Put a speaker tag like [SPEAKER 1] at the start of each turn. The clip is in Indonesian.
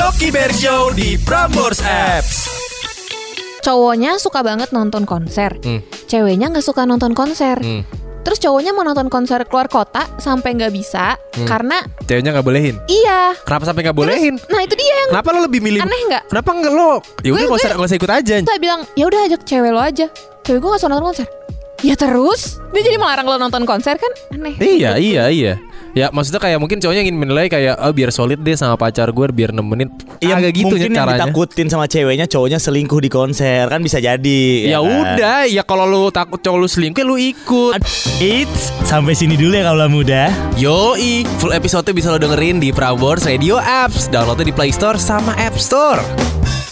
[SPEAKER 1] Oki Bear Show di Prambors Apps.
[SPEAKER 2] Cowoknya suka banget nonton konser,
[SPEAKER 3] Hmm.
[SPEAKER 2] ceweknya nggak suka nonton konser.
[SPEAKER 3] Hmm.
[SPEAKER 2] Terus cowoknya mau nonton konser keluar kota sampai nggak bisa karena
[SPEAKER 3] Ceweknya nggak bolehin.
[SPEAKER 2] iya.
[SPEAKER 3] Kenapa sampai nggak Hmm. bolehin?
[SPEAKER 2] Nah itu dia yang
[SPEAKER 3] Kenapa lo lebih milih?
[SPEAKER 2] aneh nggak?
[SPEAKER 3] Kenapa nggak lo? Ya udah
[SPEAKER 2] Gue-
[SPEAKER 3] nggak usah
[SPEAKER 2] gue-
[SPEAKER 3] nggak usah ikut aja.
[SPEAKER 2] Terus dia bilang ya udah ajak cewek lo aja. Cewek gue nggak suka nonton konser. Ya terus dia jadi melarang lo nonton konser kan aneh.
[SPEAKER 3] Iya iya iya. Ya maksudnya kayak mungkin cowoknya ingin menilai kayak oh, biar solid deh sama pacar gue biar nemenin. Iya agak gitu ya
[SPEAKER 4] mungkin yang
[SPEAKER 3] caranya.
[SPEAKER 4] ditakutin sama ceweknya cowoknya selingkuh di konser kan bisa jadi.
[SPEAKER 3] Ya
[SPEAKER 4] kan?
[SPEAKER 3] udah, ya kalau lu takut cowok lu selingkuh, ya lu ikut.
[SPEAKER 4] It's sampai sini dulu ya kaulah muda.
[SPEAKER 3] Yoi, full episode bisa lo dengerin di Prambors Radio Apps. Downloadnya di Play Store sama App Store.